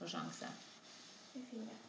Rożance. Winie.